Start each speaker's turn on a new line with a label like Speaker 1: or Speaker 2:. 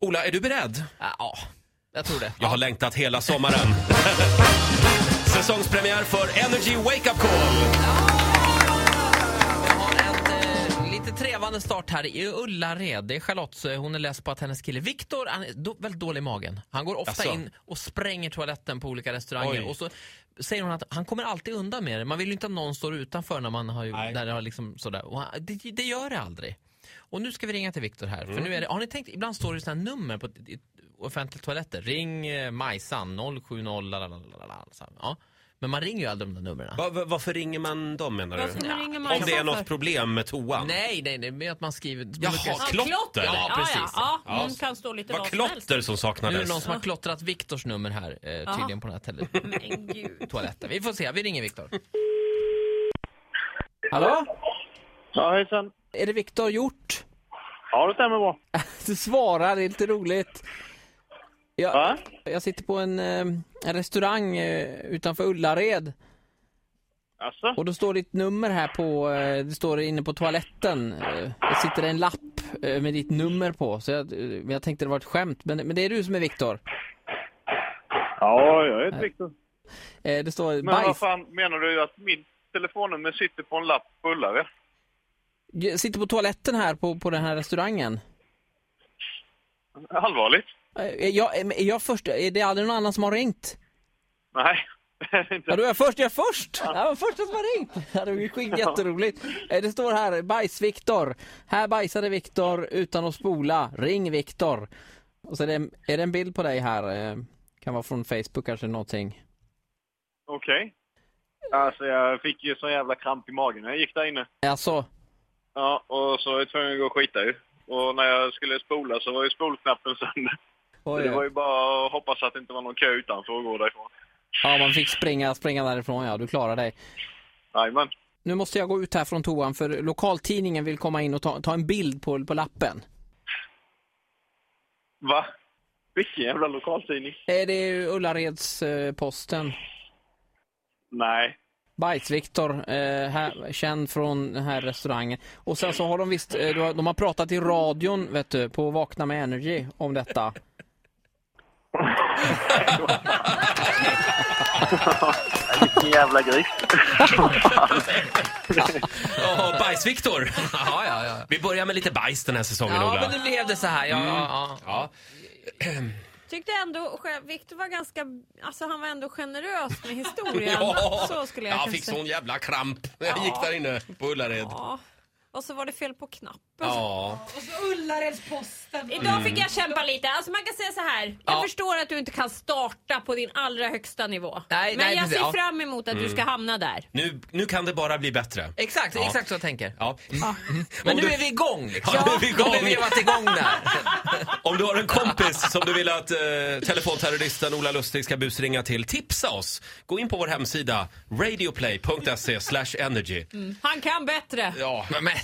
Speaker 1: Ola, är du beredd?
Speaker 2: Ja, jag tror det.
Speaker 1: Jag har längtat hela sommaren. Säsongspremiär för Energy Wake Up Call.
Speaker 2: Jag har en eh, lite trevande start här i Ullared. Det är Charlotte, eh, hon är less på att hennes kille Viktor, han är då, väldigt dålig i magen. Han går ofta
Speaker 1: Jaså?
Speaker 2: in och spränger toaletten på olika restauranger.
Speaker 1: Oj.
Speaker 2: Och så säger hon att han kommer alltid undan med det. Man vill ju inte att någon står utanför när man har, ju-
Speaker 1: Nej.
Speaker 2: när det har liksom sådär. Och han, det, det gör det aldrig. Och nu ska vi ringa till Viktor här.
Speaker 1: Mm.
Speaker 2: För nu är det, har ni tänkt, ibland står det sådana här nummer på i- offentliga toaletter. Ring eh, Majsan 070 lalalala, så här. ja. Men man ringer ju aldrig de där numren.
Speaker 1: Va, va, varför ringer man dem menar
Speaker 3: Varför
Speaker 1: du?
Speaker 3: man ringer man
Speaker 1: Om det är
Speaker 3: varför?
Speaker 1: något problem med toan?
Speaker 2: Nej, nej, nej, men att man skriver...
Speaker 1: Jaha,
Speaker 3: Ja,
Speaker 2: Ja,
Speaker 1: klotter?
Speaker 3: Ja,
Speaker 2: precis.
Speaker 3: ja, ja.
Speaker 1: Ja.
Speaker 3: Hon kan stå lite
Speaker 1: Det var
Speaker 3: vad som helst.
Speaker 1: klotter som
Speaker 2: Nu är det
Speaker 1: saknades.
Speaker 2: någon som har klottrat Viktors nummer här, eh, tydligen på den här tele-
Speaker 3: Men gud.
Speaker 2: toaletten. Vi får se, vi ringer Viktor.
Speaker 4: Hallå?
Speaker 5: Ja, hejsan.
Speaker 4: Är det Viktor Hjort?
Speaker 5: Ja, det stämmer bra.
Speaker 4: Du svarar, det är lite roligt. Jag,
Speaker 5: Va?
Speaker 4: jag sitter på en, eh, en restaurang eh, utanför Ullared
Speaker 5: Alltså?
Speaker 4: och då står ditt nummer här på, eh, det står inne på toaletten. Eh, Det sitter en lapp eh, med ditt nummer på, så jag, eh, jag tänkte det var ett skämt. Men, men det är du som är Viktor.
Speaker 5: Ja, jag heter Viktor.
Speaker 4: Eh, Det står
Speaker 5: Men vad
Speaker 4: bajs.
Speaker 5: fan menar du att mitt telefonnummer sitter på en lapp på Ullared?
Speaker 4: Jag sitter på toaletten här på, på den här restaurangen.
Speaker 5: Allvarligt?
Speaker 4: Eh, Är jag, är jag först? Är det aldrig någon annan som har ringt?
Speaker 5: Nej, det är det
Speaker 4: Ja,
Speaker 5: inte.
Speaker 4: du är först, jag är först! Jag var första som har ringt! Ja, Det är skit, jätteroligt. Eh, Det står här, bajs-Viktor. Här bajsade Viktor utan att spola. Ring Viktor. Och så är det, en- är det en bild på dig här. eh, Kan vara från Facebook kanske någonting.
Speaker 5: Okej. Alltså, jag fick ju sån jävla kramp i magen när jag gick där inne.
Speaker 4: Alltså,
Speaker 5: Ja, och så var jag tvungen att gå och skita ju. Och när jag skulle spola så var ju spolknappen sönder. Så
Speaker 4: oj,
Speaker 5: det var
Speaker 4: oj.
Speaker 5: ju bara att hoppas att det inte var någon kö utanför och gå därifrån.
Speaker 4: Ja, man fick springa, springa därifrån ja, du klarar dig.
Speaker 5: Jajamän.
Speaker 4: Nu måste jag gå ut här från toan för lokaltidningen vill komma in och ta, ta en bild på, på lappen.
Speaker 5: Va? Vilken jävla lokaltidning?
Speaker 4: Eh, Det är ju Ullareds-posten. Eh,
Speaker 5: Nej.
Speaker 4: Bajs-Viktor, eh, här- känd från den här restaurangen. Och sen så har de visst, eh, de har- de har pratat i radion, vet du, på Vakna med Energy om detta.
Speaker 5: Vilken jävla gris.
Speaker 1: Ja, Bajs-Viktor.
Speaker 2: ja, ja, ja.
Speaker 1: Vi börjar med lite bajs den här säsongen,
Speaker 2: Ja, men
Speaker 1: Ola.
Speaker 2: nu blev det så här. Ja, ja, ja.
Speaker 1: Mm. Ja.
Speaker 3: Tyckte ändå, själv- Victor var ganska, alltså han var ändå generös med historien. Så skulle jag
Speaker 1: jag
Speaker 3: kanske
Speaker 1: fick
Speaker 3: säga.
Speaker 1: sån jävla kramp när jag gick där inne på Ullared.
Speaker 3: Ja. Och så var det fel på knappen.
Speaker 1: Ja.
Speaker 6: Ullaredsposten.
Speaker 3: Idag fick jag kämpa lite. Alltså man kan säga så här. Jag
Speaker 2: Ja.
Speaker 3: förstår att du inte kan starta på din allra högsta nivå.
Speaker 2: Nej,
Speaker 3: men
Speaker 2: nej,
Speaker 3: jag
Speaker 2: precis.
Speaker 3: ser
Speaker 2: Ja.
Speaker 3: fram emot att du ska hamna där.
Speaker 1: Nu, nu kan det bara bli bättre.
Speaker 2: Exakt,
Speaker 1: Ja.
Speaker 2: exakt så jag tänker.
Speaker 1: Ja.
Speaker 2: Men
Speaker 1: Om
Speaker 2: nu
Speaker 1: du-
Speaker 2: är vi igång liksom.
Speaker 1: Ja, nu är vi igång.
Speaker 2: Nu har vi varit igång där.
Speaker 1: Om du har en kompis som du vill att eh, telefonterroristen Ola Lustig ska busringa till, tipsa oss. Gå in på vår hemsida radioplay.se slash energy.
Speaker 3: Han kan bättre.
Speaker 1: Ja,
Speaker 2: Men, men,